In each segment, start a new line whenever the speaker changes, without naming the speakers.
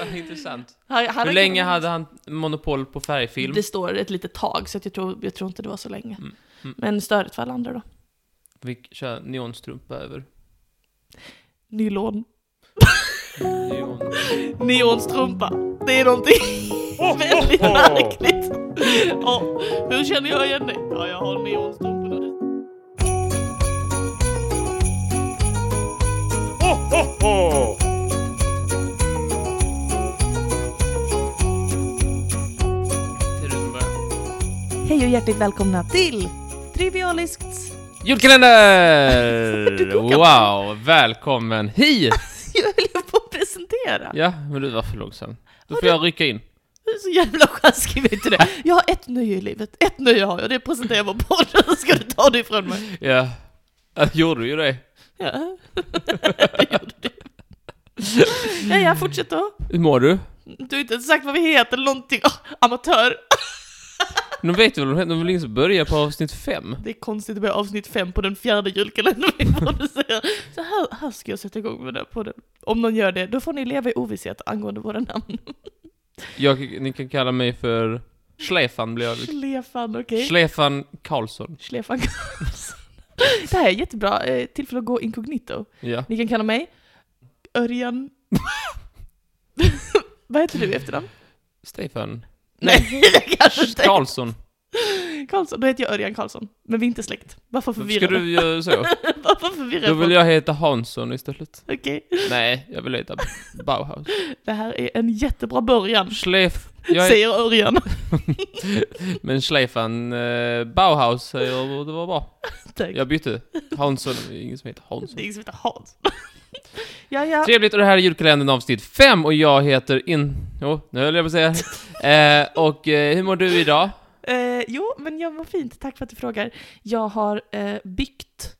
Ja, Intressant.
Han, han
Hur länge hade han monopol på färgfilm?
Det står ett litet tag, så att jag, tror, jag tror inte det var så länge.
Mm, mm.
Men störigt för alla andra då.
Fick köra neonstrumpa över.
Nylon.
Neon.
Neonstrumpa. Det är någonting väldigt märkligt. Ja, hur känner jag igen dig? Ja, jag har neonstrumporna.
Ser du som börjar?
Hej och hjärtligt välkomna till Trivialiskt.
Julkalender! Wow, välkommen hit!
Jag höll ju på att presentera.
Ja, men du var för långsam. Då
Har
får
du-
jag rycka in.
Du är så jävla chansig, vet du det? Jag har ett nöje i livet. Ett nöje har jag, det är att presentera vår podd. Då ska du ta det ifrån mig.
Ja, jag gjorde ju det.
Ja, jag gjorde det. Ja, jag fortsätter.
Hur mår du?
Du har inte ens sagt vad vi heter eller någonting. Åh, amatör.
Nu vet du väl, de heter- de vill inte börja på avsnitt fem?
Det är konstigt att börja avsnitt fem på den fjärde julkalendern vi producerar. Så här, här ska jag sätta igång med den här podden. Om någon gör det, då får ni leva i ovisshet angående våra namn.
Jag, ni kan kalla mig för Schlefan blir jag. liksom-
Schlefan, okej?
Schlefan Karlsson.
Schlefan Karlsson. Det här är jättebra eh, tillfälle att gå inkognito.
Ja.
Ni kan kalla mig Örjan... Vad heter du i efternamn?
Stefan
Nej, Alltså, det kanske inte är.
Karlsson.
Karlsson. Då heter jag Örjan Karlsson. Men vi är inte släkt. Varför
Ska
förvirra?
du göra så?
Varför förvirra?
Då vill
folk?
jag heta Hansson istället.
Okej,
Nej, jag vill heta Bauhaus.
det här är en jättebra början.
Schlef... Jag är,
Säger Örjan.
men Schlefan eh, Bauhaus säger det var bra.
Tack.
Jag bytte. Hansson, det är ingen som heter Hansson.
Det är ingen som heter Hans. ja, ja.
Trevligt, och det här är julkalendern avsnitt 5 och jag heter in... Jo, nu höll jag på att säga. Eh, och eh, hur mår du idag?
Eh, jo, men jag mår fint. Tack för att du frågar. Jag har eh, byggt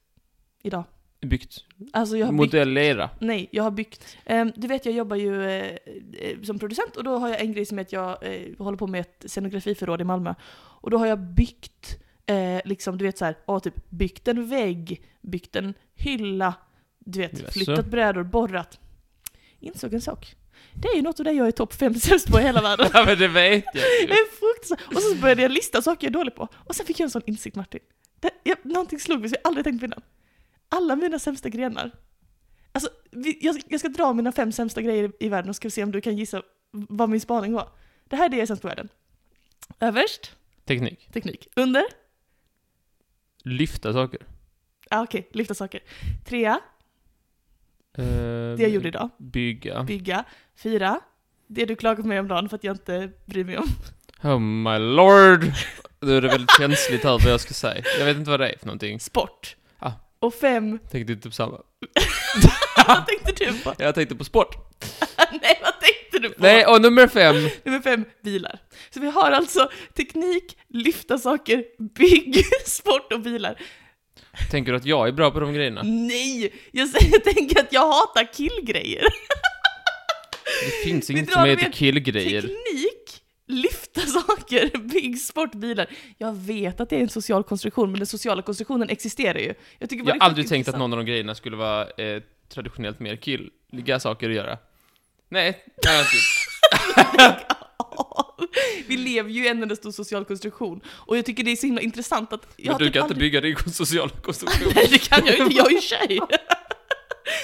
idag.
Byggt.
Alltså jag har byggt.
Modellera.
Nej, jag har byggt. Eh, du vet, jag jobbar ju eh, eh, som producent och då har jag en grej som är att jag eh, håller på med ett scenografiförråd i Malmö. Och då har jag byggt, eh, liksom, du vet så här, ja, typ byggt en vägg, byggt en hylla, du
Jaså?
vet, flyttat brädor, borrat. Insåg en sak. Det är ju något av det jag är topp fem sämst på i hela världen.
Ja, men det vet jag
Det
ju.
är fruktansvärt. Och så började jag lista saker jag är dålig på. Och sen fick jag en sån insikt Martin. Det, jag, någonting slog mig som jag aldrig tänkt på innan. Alla mina sämsta grenar. Alltså, vi, jag, jag ska dra mina fem sämsta grejer i världen och ska se om du kan gissa vad min spaning var. Det här är det jag är sämst på i världen. Överst,
Teknik.
teknik. Under,
Lyfta saker.
ah, okej, lyfta saker. Trea,
Eh,
det jag gjorde idag.
Bygga.
Bygga. Fyra, det du klagar på mig om dagen för att jag inte bryr mig om.
Oh my lord! Nu är det väldigt känsligt här vad jag ska säga. Jag vet inte vad det är för någonting.
Sport.
Ah.
Och fem,
Tänkte inte på samma.
vad tänkte du på?
Jag tänkte på sport.
Nej, vad tänkte du på?
Nej, och nummer fem.
Nummer fem, bilar. Så vi har alltså teknik, lyfta saker, bygg, sport och bilar.
Tänker du att jag är bra på de grejerna?
Nej! Jag, säger, jag tänker att jag hatar killgrejer.
Det finns
Vi
inget
drar
som
dem
heter
igen.
killgrejer.
Teknik, lyfta saker, bygg, sport, bilar. Jag vet att det är en social konstruktion, men den sociala konstruktionen existerar ju. Jag, tycker bara
Jag
det typ
har
är
aldrig tänkt att
intressant.
någon av de grejerna skulle vara eh, traditionellt mer killiga saker att göra. Nej, det har jag inte gjort.
Vi lever ju i en enda stor social konstruktion. Och jag tycker det är så himla intressant att... jag
Men
har
du
typ
kan inte
aldrig-
bygga din sociala konstruktion.
Nej det kan jag ju inte, jag är ju tjej!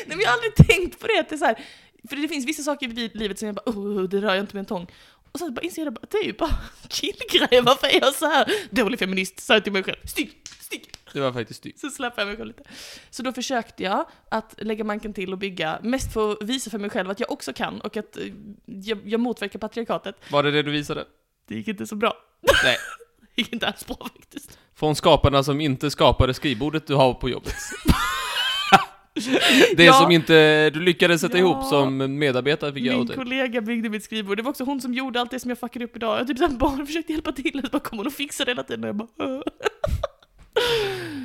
Nej men jag har aldrig tänkt på det, att det är så här, för det finns vissa saker i livet som jag bara oh, det rör jag inte med en tång. Och sen bara inser jag bara, det är ju bara killgrejer, varför är jag så här? Dålig feminist, sa jag till mig själv. Stick, stick!
Det var faktiskt typ- dyrt.
Så släppte jag mig själv lite. Så då försökte jag att lägga manken till och bygga, mest för att visa för mig själv att jag också kan och att eh, jag, jag motverkar patriarkatet.
Var det det du visade?
Det gick inte så bra.
Nej.
Det gick inte alls bra faktiskt.
Från skaparna som inte skapade skrivbordet du har på jobbet. Det
Ja.
som inte du lyckades sätta
Ja.
ihop som medarbetare fick jag åt
Min
dig.
kollega byggde mitt skrivbord, det var också hon som gjorde allt det som jag fuckade upp idag. Jag typ såhär bara försökte hjälpa till, och bara kom hon och fixade hela tiden och jag bara "Åh."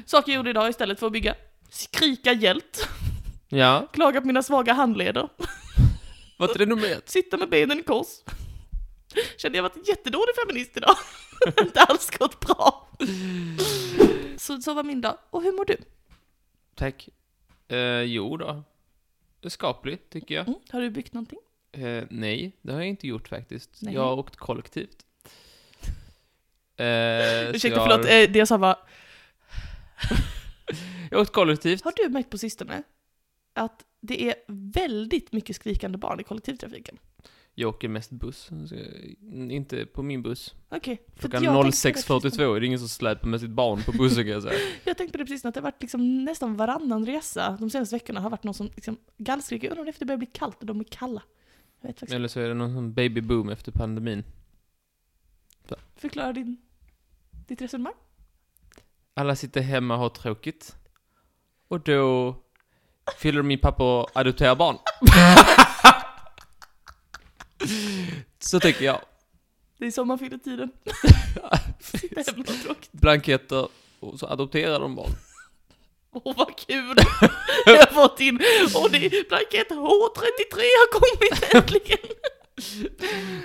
Saker jag gjorde idag istället för att bygga. Skrika hjälp,
Ja,
klaga på mina svaga handleder,
vad är det nummer ett?
sitta med benen i kors. Kände jag varit jättedålig feminist idag. Inte alls gått bra. Så, så var min dag. Och hur mår du?
Tack. Eh, jo då. Det är skapligt, tycker jag.
Mm, har du byggt någonting?
Eh, nej, det har jag inte gjort faktiskt.
Nej.
Jag har åkt kollektivt. Eh, så
Ursäkta,
jag
förlåt.
Har,
eh, Det jag sa var,
jag har åkt kollektivt.
har du märkt på sistone att det är väldigt mycket skrikande barn i kollektivtrafiken?
Jag åker mest buss. Så jag- Inte på min buss.
Okej. för att
Klockan
jag tänkte på det precis
06.42 är det ingen som släpar med sitt barn på bussen kan jag säga.
Jag tänkte på det precis, att det har varit liksom nästan varannan resa de senaste veckorna har varit någon som liksom gallskriker. Jag undrar om det är för att det börjar bli kallt och de är kalla. Jag vet faktiskt
Eller så är det någon sån babyboom efter pandemin.
inte. Förklara din, ditt resonemang.
Alla sitter hemma och har tråkigt. Och då fyller min pappa och adopterar barn. så tänker jag.
Det är sommarfylletiden. Sitta hemma och tråkigt.
Blanketter och så adopterar de barn.
Åh vad kul! Jag har fått in, och det är blankett H33 har kommit äntligen!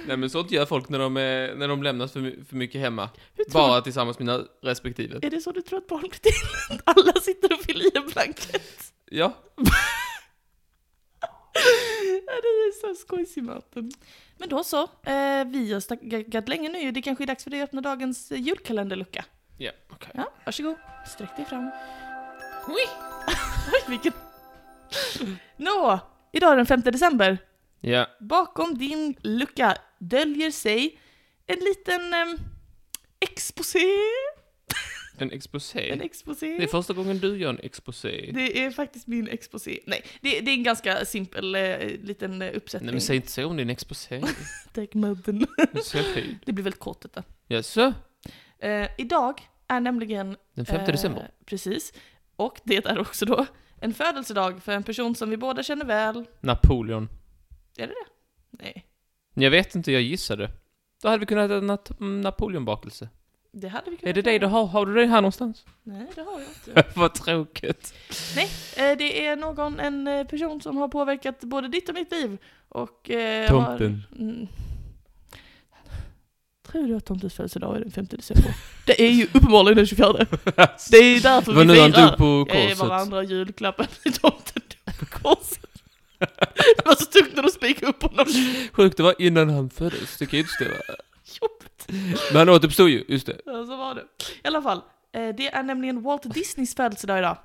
Nej men sånt gör folk när de, är, när de lämnas för, my- för mycket hemma.
Hur tror
Bara tillsammans med mina respektive.
du, är det så du tror att barn blir till? Alla sitter och fyller i en blankett.
Ja.
Ja, det är så skojsig maten. Men då så, eh, vi har snackat länge nu det kanske är dags för dig att öppna dagens eh, julkalenderlucka.
Ja, okej.
Ja, varsågod. Sträck dig fram. Oj, vilken... Nå, idag är den 5 december.
Ja.
Bakom din lucka döljer sig en liten eh, exposé.
En exposé.
En exposé.
det är första gången du gör en exposé.
Det är faktiskt min exposé. Nej, det, det är en ganska simpel eh, liten eh, uppsättning.
Nej men säg inte så om din exposé.
Tack madden.
Du är så fin.
Det blir väldigt kort detta.
Jaså?
Eh, idag är nämligen...
Den 5
eh,
december?
Precis. Och det är också då en födelsedag för en person som vi båda känner väl.
Napoleon.
Är det det? Nej.
Jag vet inte, jag gissade. Då hade vi kunnat äta nat- mm, Napoleonbakelse.
Det hade vi kunnat
Är det det du
göra.
har? Har du det här någonstans?
Nej, det har jag inte.
Vad tråkigt.
Nej, eh, det är någon, en eh, person som har påverkat både ditt och mitt liv. Och, eh,
Tomten.
Har, mm, tror du att tomtens födelsedag är den 5 december? Det är ju uppenbarligen den 24. Det är ju därför
Det var
vi
nu han
firar.
dog på
Eh,
korset.
varandra julklappen till tomten dog på korset. Det var så tungt när de spikade upp honom.
Sjukt, det var innan han föddes. Det kan ju inte stämma.
Jobbigt.
Men han återuppstod ju, just det.
Ja, så var det. I alla fall, eh, det är nämligen Walt Disneys födelsedag idag.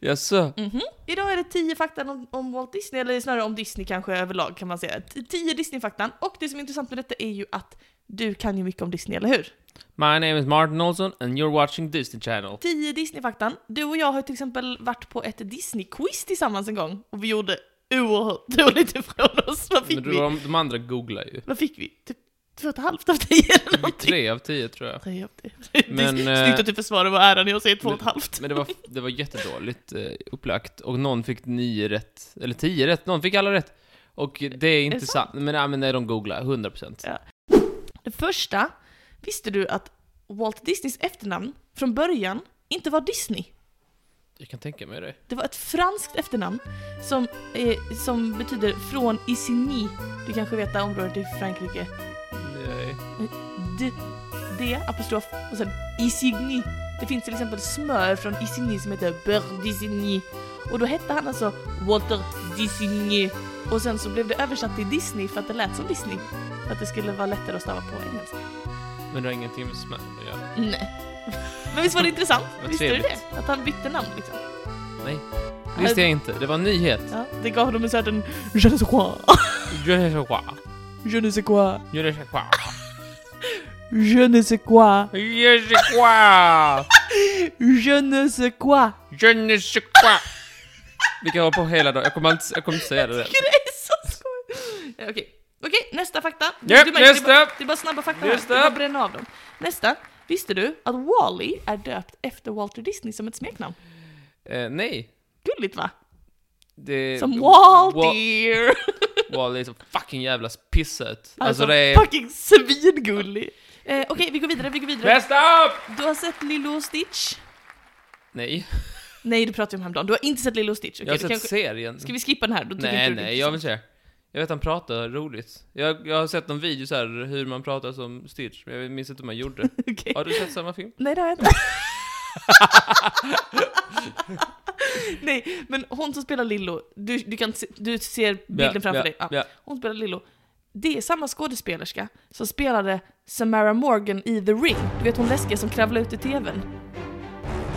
Jaså?
Mhm. Idag är det 10 faktan om, om Walt Disney, eller snarare om Disney kanske överlag kan man säga. 10 Disney-faktan. Och det som är intressant med detta är ju att du kan ju mycket om Disney, eller hur?
My name is Martin Olsson and you're watching Disney Channel.
10 Disney-faktan. Du och jag har ju till exempel varit på ett Disney-quiz tillsammans en gång. Och vi gjorde oerhört dåligt ifrån oss. Vad fick
Men du,
vi?
de, de andra googlar ju.
Vad fick vi? Typ två och ett halvt av tio eller någonting?
Tre av tio tror jag.
Tre av tio. Det är
Men,
snyggt
eh,
att du försvarar vad äran jag säger två och ett halvt.
men det var, det var jättedåligt eh, upplagt. Och någon fick nio rätt. Eller tio rätt. Någon fick alla rätt. Och det är inte
det
sant. Men, nej, men nej, de googlar. 100%. procent.
Det första, visste du att Walt Disneys efternamn från början inte var Disney?
Jag kan tänka mig det.
Det var ett franskt efternamn som, eh, som betyder från Isigny. Du kanske vet det här området i Frankrike.
Nej.
D, D, apostrof och sen Isigny. Det finns till exempel smör från Isigny som heter Beurre d'Isigny. Och då hette han alltså Walter d'Isigny. Och sen så blev det översatt till Disney för att det lät som Disney. För att det skulle vara lättare att stava på engelska.
Men det har ingenting med smör att göra.
Nej. Men visst var det intressant?
Vad
Visste du det?
trevligt.
Att han bytte namn liksom.
Nej. Visste jag inte. Det var en nyhet.
Ja, det gav honom en certain je ne sais quoi.
Je ne sais quoi.
Je ne sais quoi.
Je ne sais quoi.
Je ne sais quoi.
Je ne sais quoi.
Je ne sais quoi.
Je ne sais quoi. Vi kan hålla på hela dagen. Jag kommer inte, jag kommer inte säga det där.
Tycker det är så skoj. Eh, Okej, Okej, nästa fakta.
Japp,
Du märker, det är
nästa.
bara- Det är bara snabba fakta här.
Nästa.
Du bara bränna av dem. Nästa. Visste du att Wally är döpt efter Walter Disney som ett smeknamn?
Eh, nej.
Gulligt va?
Det...
Som
Wa-
Walter.
Wall är så fucking jävla pissöt. Alltså
Alltså
det är...
fucking svingullig. Eh, Okej, vi går vidare, vi går vidare.
Bästa upp!
Du har sett Lilo och Stitch?
Nej,
Nej, du pratade ju om häromdagen. Du har inte sett Lilo och Stitch. Okej,
jag har
det
sett serien.
Ska vi skippa den här? Då tycker inte
nej,
du det är
nej, jag vill se. Jag vet han pratar roligt. Jag, jag har sett någon video så här hur man pratar som Stitch, men jag minns inte hur man gjorde.
Okej.
Har du sett samma film?
Nej det har jag inte. Nej, men hon som spelar Lillo, du, du, kan se, du ser bilden framför dig. Ja.
ja.
Hon spelar Lillo. Det är samma skådespelerska som spelade Samara Morgan i The Ring. Du vet hon läskiga som kravlade ut i TVn.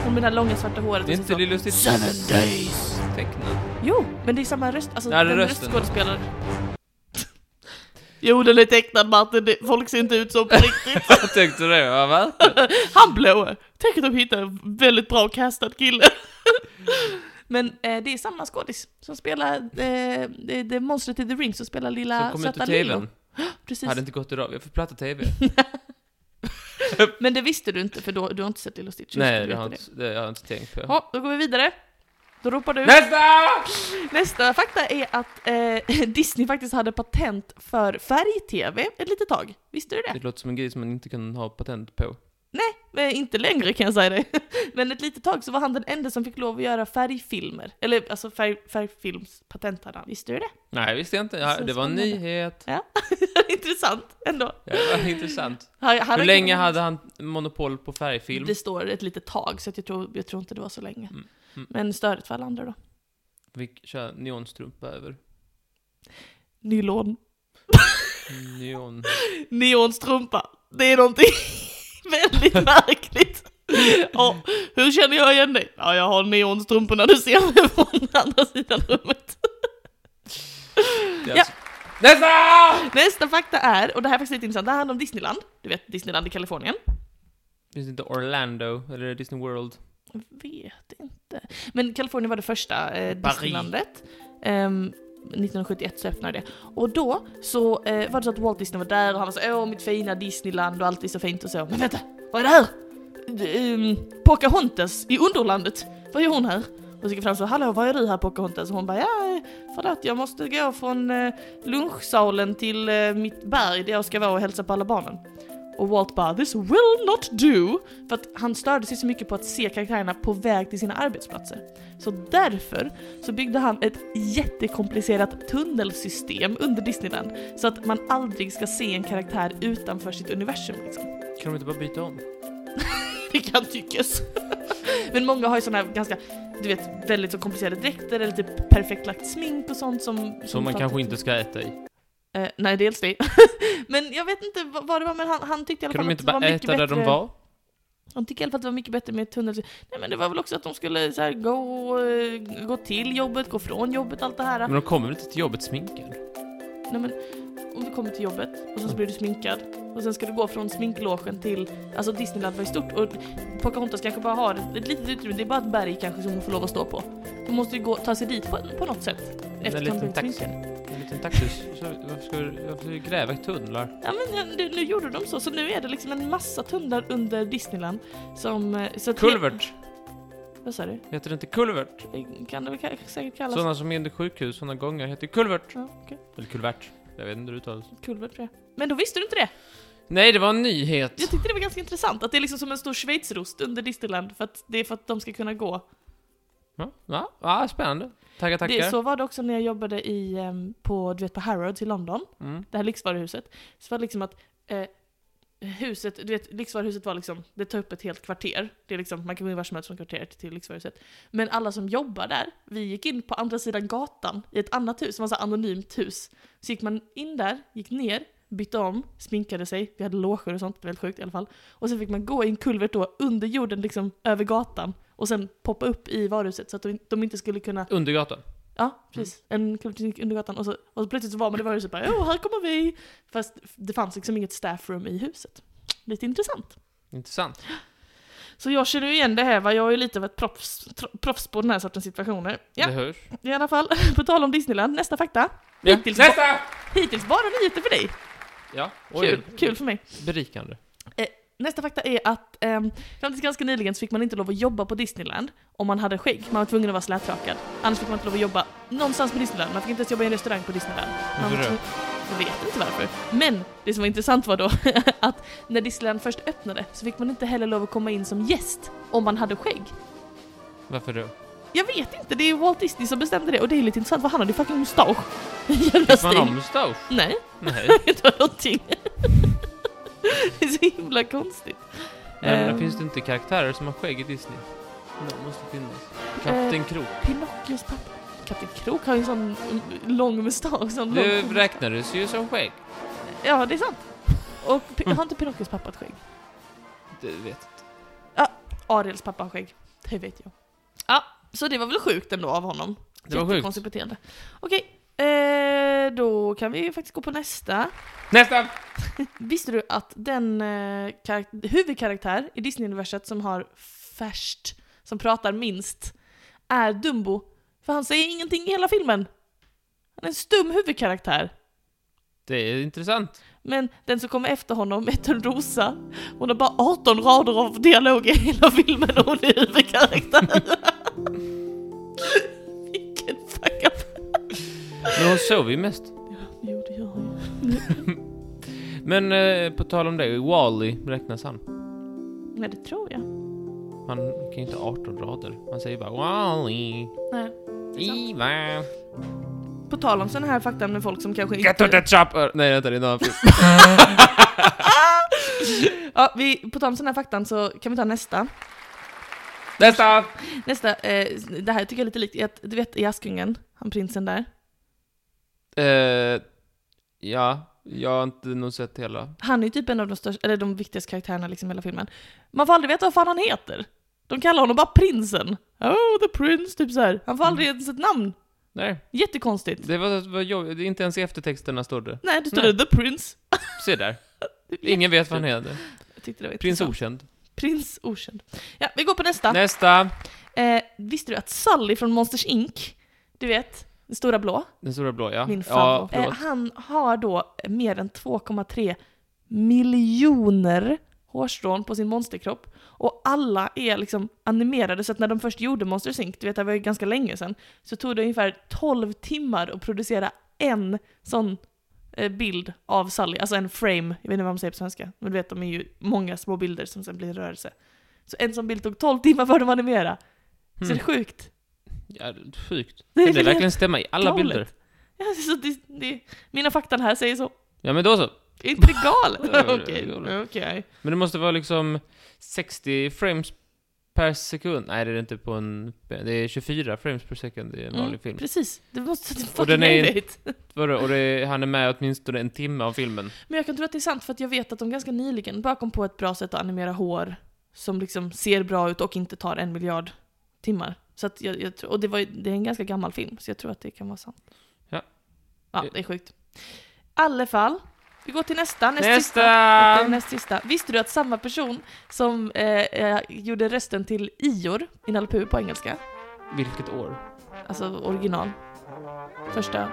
Hon med det här långa svarta håret
Det är
och
inte
så.
Lilo Stitch
Seven days!
tecknat.
Jo, men det är samma röst, alltså
Ja, det är
den
rösten.
röstskådespelaren. Jo, den är tecknad Martin, Det- folk ser inte ut som på riktigt.
Jag tyckte det, ja, va?
Han blåa! Tänk att de hittar en väldigt bra castad kille. Men eh, det är samma skådis som spelar eh, det, det monstret i The Ring som spelar
Som
lilla
Alltså, kom ut ur
söta Lilo.
tvn.
Precis.
Hade inte gått idag. Jag får platta TV.
Men det visste du inte för då, du har inte sett Lilo Stitch. just
Nej,
du
det har, jag
vet
inte, det har jag inte tänkt på.
Ja, då går vi vidare. Då ropar du.
Nästa!
Nästa fakta är att eh, Disney faktiskt hade patent för färg-tv ett litet tag. Visste du det?
Det låter som en grej som man inte kan ha patent på.
Eh, inte längre kan jag säga det. Men ett litet tag så var han den enda som fick lov att göra färgfilmer. Eller alltså färg, färgfilmspatent hade han. Visste du det?
Nej, det visste jag inte. Ja,
Så
Det var en
spännande.
nyhet.
Intressant ändå.
Ja, det var intressant.
Han, han
Hur länge hade han monopol på färgfilm?
Det står ett litet tag, så att jag, tror, jag tror inte det var så länge.
Mm, mm.
Men störigt för alla andra då.
Fick köra neonstrumpa över.
Nylon.
Neon.
Neonstrumpa. Det är någonting väldigt märkligt. Ja, hur känner jag igen dig? Ja, jag har neonstrumporna du ser mig från andra sidan rummet.
Yes. Nästa!
Nästa fakta är, och det här är faktiskt lite intressant, det här handlar om Disneyland. Du vet Disneyland i Kalifornien.
Finns det inte Orlando? Eller Disney World?
Jag vet inte. Men Kalifornien var det första eh,
Paris.
Disneylandet. Ehm, 1971 så öppnade det. Och då så eh, var det så att Walt Disney var där och han var så åh mitt fina Disneyland och allt är så fint och så. Men vänta, vad är det här? Um, Pocahontas i Underlandet, vad gör hon här? Och så gick jag fram så, hallå vad gör du här Pocahontas? Och hon bara, ja eh, förlåt jag måste gå från eh, lunchsalen till eh, mitt berg där jag ska vara och hälsa på alla barnen. Och Walt bara, this will not do! För att han störde sig så mycket på att se karaktärerna på väg till sina arbetsplatser. Så därför så byggde han ett jättekomplicerat tunnelsystem under Disneyland. Så att man aldrig ska se en karaktär utanför sitt universum liksom.
Kan de inte bara byta om?
Det kan tyckas. Men många har ju sådana här ganska, du vet, väldigt så komplicerade dräkter eller typ perfekt lagt smink och sånt som...
Som man
tar
kanske
tid.
inte ska äta i.
Eh, nej, dels det. men jag vet inte vad vad det var, men han, han tyckte i alla
Kan
fall
de
att
inte
det var
bara
mycket
äta
bättre...
där de var?
De tycker i alla fall att det var mycket bättre med tunnel. Nej men det var väl också att de skulle så här, gå, eh, gå till jobbet, gå från jobbet, allt det här.
Men de kommer väl inte till jobbet sminkade?
Nej men, om du kommer till jobbet och sen så blir du sminkad och sen ska du gå från sminklogen till, alltså Disneyland var ju stort och Pocahontas kanske bara har ett litet utrymme, det är bara ett berg kanske som hon får lov att stå på. Hon måste ju gå, ta sig dit på, på något sätt.
En
Eftersom hon
liten
inte
taxi.
sminkad.
En liten taxus. Så Varför ska du varför ska du gräva tunnlar?
Ja men ja, nu, nu gjorde de så, så nu är det liksom en massa tunnlar under Disneyland som... eh, Så att-
Kulvert!
Vad sa du?
Heter det inte kulvert?
Det Kan det väl ka- säkert kallas?
Sådana som är inne i sjukhus, sådana gånger heter kulvert.
Ja, okej.
Eller kulvert. Jag vet inte hur det uttalas.
Kulvert tror jag. Men då visste du inte det?
Nej, det var en nyhet.
Jag tyckte det var ganska intressant att det är liksom som en stor schweizerost under Disneyland för att det är för att de ska kunna gå.
Ja, ja, ja spännande. Tackar, tackar.
Det, så var det också när jag jobbade i, em, på, du vet, på Harrods i London,
Mm.
det här lyxvaruhuset. Så var det liksom att eh, huset, du vet, lyxvaruhuset var liksom, det tar upp ett helt kvarter. Det är liksom, man kan gå in var som helst från kvarteret till lyxvaruhuset. Men alla som jobbar där, vi gick in på andra sidan gatan i ett annat hus, som var så här anonymt hus. Så gick man in där, gick ner, bytte om, sminkade sig, vi hade loger och sånt, väldigt sjukt i alla fall. Och sen fick man gå i en kulvert då, under jorden liksom, över gatan. Och sen poppa upp i varuhuset så att de, de inte skulle kunna
Under gatan. Mm.
Ja, precis. En kulturklinik under gatan. Och så, och så plötsligt så var man i varuhuset bara åh, här kommer vi! Fast det fanns liksom inget staffroom i huset. Lite intressant.
Intressant.
Så jag känner ju igen det här, va? jag är ju lite av ett proffs, tro- proffs på den här sortens situationer. Ja,
Det hörs.
i alla fall. På tal om Disneyland, nästa fakta.
Ja.
Hittills-
Nästa!
Hittills bara nyheter för dig.
Ja, oj.
Kul, kul för mig.
Berikande.
Nästa fakta är att ehm, fram tills ganska nyligen så fick man inte lov att jobba på Disneyland om man hade skägg. Man var tvungen att vara slätrakad. Annars fick man inte lov att jobba någonstans på Disneyland. Man fick inte ens jobba i en restaurang på Disneyland. Man
Varför det?
typ. Jag vet inte varför. Men det som var intressant var då att när Disneyland först öppnade så fick man inte heller lov att komma in som gäst om man hade skägg.
Varför då?
Jag vet inte, det är Walt Disney som bestämde det och det är lite intressant för han hade ju fucking mustasch. Jävla
Man har
stil.
mustasch?
Nej,
Nej.
inte var någonting. det är så himla konstigt.
Nej, men
Ehm.
det finns det inte karaktärer som har skägg i Disney? Det måste finnas. Kapten Krok.
Eh, Pinocchios pappa. Kapten Krok har ju en sån lång mustasch. Sån
Du
lång...
räknades ju som skägg.
Ja, det är sant. Och Pi-
Mm.
har inte Pinocchios pappa ett skägg?
Du vet.
Ariels pappa har skägg. Det vet jag. Ja, så det var väl sjukt ändå av honom.
Det var sjukt.
Konstigt beteende. Okej, eh, då kan vi ju faktiskt gå på nästa.
Nästa!
Visste du att den eh, karak- huvudkaraktär i Disney-universet som har färst, som pratar minst, är Dumbo? För han säger ingenting i hela filmen. Han är en stum huvudkaraktär.
Det är intressant.
Men den som kommer efter honom heter Rosa. Hon har bara 18 rader av dialog i hela filmen och hon är huvudkaraktär. Vilken fuck-up.
Men hon sover ju mest.
Jo, det gör hon ju.
Men eh, på tal om det, Wally räknas han?
Men det tror jag.
Han kan ju inte 18 rader. Han säger bara Wally,
Nej. det är sant.
Iva,
På tal om sådana här fakta med folk som kanske
Get to the chopper! Nej vänta, det är en annan film.
Ja, vi, på tal om sådana här fakta så kan vi ta nästa.
Nästa!
Nästa, eh, det här tycker jag är lite likt, i att- du vet i Askungen, han prinsen där.
Eh, ja, jag har inte nog sett hela.
Han är ju typ en av de största, eller de viktigaste karaktärerna liksom i hela filmen. Man får aldrig veta vad fan han heter. De kallar honom bara prinsen. Oh, the prince, typ så här. Han får
Mm.
aldrig ens ett namn.
Nej,
Jättekonstigt.
det var, var jobbigt. Inte ens i eftertexterna stod det.
Nej, det står
Nej.
det the prince.
Se där. Ingen vet vad han heter.
Jag tyckte det var
Prins
intressant.
Okänd.
Prins okänd. Ja, vi går på nästa.
Nästa!
Eh, visste du att Sally från Monsters Inc, du vet, den stora blå,
Den stora blå, ja.
min
ja,
favorit, eh,
förlåt.
han har då mer än 2,3 miljoner hårstrån på sin monsterkropp. Och alla är liksom animerade, så att när de först gjorde Monsters Inc, du vet det var ju ganska länge sedan, så tog det ungefär 12 timmar att producera en sån eh, bild av Sally, alltså en frame, jag vet inte vad man säger på svenska, men du vet de är ju många små bilder som sen blir en rörelse. Så en sån bild tog 12 timmar för dem att animera. Så det är
Hmm.
sjukt.
Ja, sjukt.
Det är
Kan det
väl
verkligen
helt
stämma i alla
galet.
bilder?
Ja, så det, det, mina fakta här säger så.
Ja, men då så.
Är inte det galet?
Ja,
Okej,
det är galet.
okej.
Men det måste vara liksom 60 frames per sekund. Nej, det är det inte på en... Det är 24 frames per sekund i en vanlig
Mm,
film.
Precis, det måste det
Och
fucking
den är-
är...
Vadå? Och det är, han är med åtminstone en timme av filmen.
Men jag kan tro att det är sant för att jag vet att de ganska nyligen bara kom på ett bra sätt att animera hår som liksom ser bra ut och inte tar en miljard timmar. Så att jag, jag tror, och det, var, ju- det är en ganska gammal film, så jag tror att det kan vara sant.
Ja.
Ja, det är sjukt. I alla fall, vi går till nästa. Näst Sista.
Nästa!
Och näst sista. Visste du att samma person som eh, eh, gjorde rösten till Ior i Nalle Puh på engelska,
Vilket år?
alltså original, första,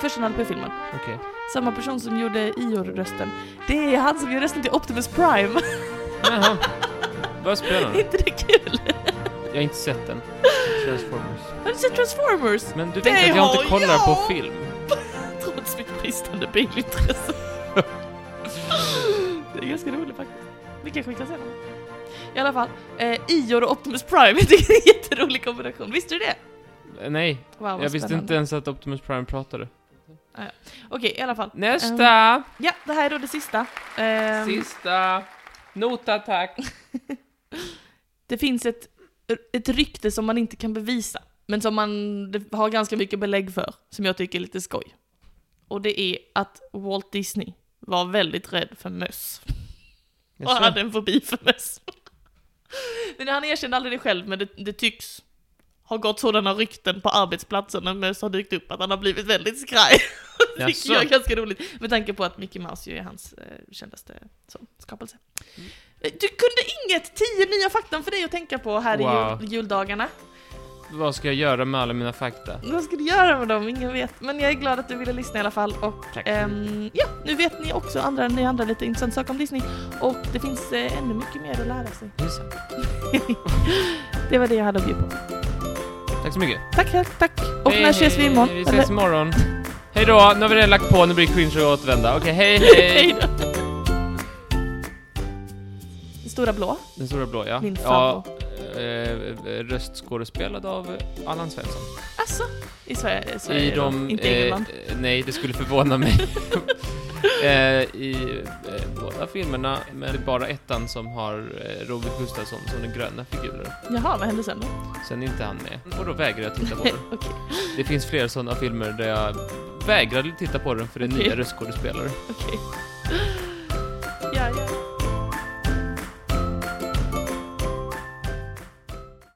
första Nalle Puh-filmen,
Okej.
samma person som gjorde Ior-rösten, det är han som gör rösten till Optimus Prime.
Jaha. Vad
Är
spännande.
inte det kul?
Jag har inte sett den. Transformers.
Har du sett Transformers?
Men du
Det
vet att jag inte
har
kollar
jag!
på film.
Trots mitt bristande bilintresse. det är ganska roligt faktiskt. Vi kanske kan se den. I alla fall, eh, Ior och Optimus Prime, jag tycker det är en jätterolig kombination. Visste du det?
Eh, Nej,
Wow, vad
jag visste
spännande.
inte ens att Optimus Prime pratade.
Okej, i alla fall.
Nästa!
Ja, det här är då det sista. Ehm,
Sista! Nota tack!
Det finns ett, ett rykte som man inte kan bevisa, men som man det har ganska mycket belägg för, som jag tycker är lite skoj. Och det är att Walt Disney var väldigt rädd för möss. Och
Jaså?
hade en fobi för möss. Men han erkände aldrig det själv, men det, det tycks ha gått sådana rykten på arbetsplatsen när möss har dykt upp att han har blivit väldigt skraj. Det tycker
Jaså?
jag är ganska roligt, med tanke på att Mickey Mouse ju är hans eh, kändaste så, skapelse.
Mm.
Eh, Du kunde inget! Tio nya fakta för dig att tänka på här
Wow.
i jul, juldagarna.
Vad ska jag göra med alla mina fakta?
Vad ska du göra med dem? Ingen vet. Men jag är glad att du ville lyssna i alla fall. Och
Tack.
ehm, ja, nu vet ni också andra, ni andra lite intressanta saker om Disney. Och det finns eh, ännu mycket mer att lära sig.
Just.
det var det jag hade att bjuda på.
Tack så mycket.
Tack, tack, tack. Och när ses vi imorgon?
Vi
Eller-
ses imorgon. Hej då, nu har vi redan lagt på, nu blir det cringe och återvända. Okej, hej hej!
Hej då. Den stora blå.
Den stora blå, ja.
Min
ja
sambo.
eh, röstskådespelad av Allan Svensson.
Alltså, i Sverige, i Sverige
I de...
då. Inte i eh, England.
eh, nej, det skulle förvåna mig. eh, I eh, båda filmerna, men det är bara ettan som har eh, Robert Gustafsson som den gröna figuren.
Jaha, vad hände sen då?
Sen är inte han med. Och då vägrar jag titta på den.
Okej,
Det finns flera sådana filmer där jag vägrade titta på den för det är
Okej.
nya röstskådespelare.
okej.